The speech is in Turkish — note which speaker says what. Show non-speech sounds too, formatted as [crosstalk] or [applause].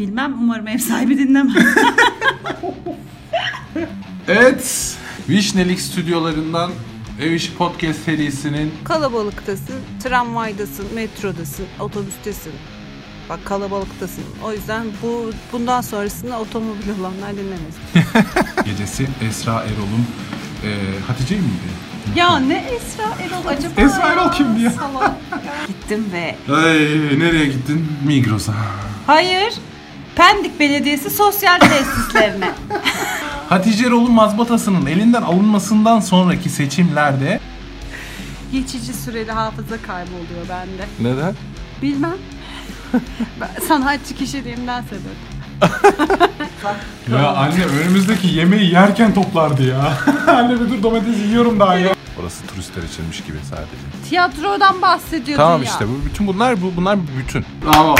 Speaker 1: Bilmem umarım ev sahibi dinlemez.
Speaker 2: Evet. Vişnelik stüdyolarından Ev İşi Podcast serisinin
Speaker 3: [laughs] Kalabalıktasın, tramvaydasın, metrodasın, otobüstesin. Bak kalabalıktasın. O yüzden bu bundan sonrasını otomobil olanlar dinlemesin.
Speaker 2: gecesi Esra Erol'un e, Hatice miydi?
Speaker 3: ya ne Esra Erol acaba?
Speaker 2: Esra Erol kimdi ya?
Speaker 3: Salak. Gittim ve
Speaker 2: Ay, nereye gittin? Migros'a.
Speaker 3: hayır. Pendik Belediyesi sosyal tesislerine.
Speaker 2: Hatice Erol'un mazbatasının elinden alınmasından sonraki seçimlerde
Speaker 3: [laughs] Geçici süreli hafıza kaybı oluyor bende.
Speaker 2: neden?
Speaker 3: Bilmem. Ben sanatçı kişiliğimden sebep.
Speaker 2: Ya anne önümüzdeki yemeği yerken toplardı ya. [laughs] anne bir dur domates yiyorum daha ya. Orası turistler içinmiş gibi sadece.
Speaker 3: Tiyatrodan bahsediyordun
Speaker 2: Tamam
Speaker 3: ya.
Speaker 2: işte bu bütün bunlar bu bunlar bir bütün. Bravo.